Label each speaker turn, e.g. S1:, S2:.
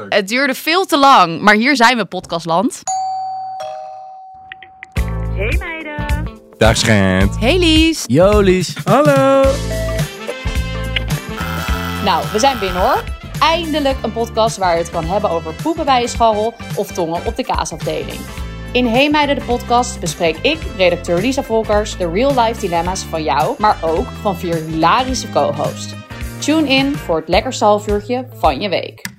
S1: leuk.
S2: Het duurde veel te lang, maar hier zijn we, Podcastland.
S3: Hey meiden.
S1: Dag schijnt.
S2: Hey Lies.
S4: Jolies.
S5: Hallo.
S2: Nou, we zijn binnen hoor. Eindelijk een podcast waar je het kan hebben over poepen bij je scharrel of tongen op de kaasafdeling. In Heemeiden de podcast bespreek ik, redacteur Lisa Volkers, de real-life dilemma's van jou, maar ook van vier hilarische co-hosts. Tune in voor het lekkerste half uurtje van je week.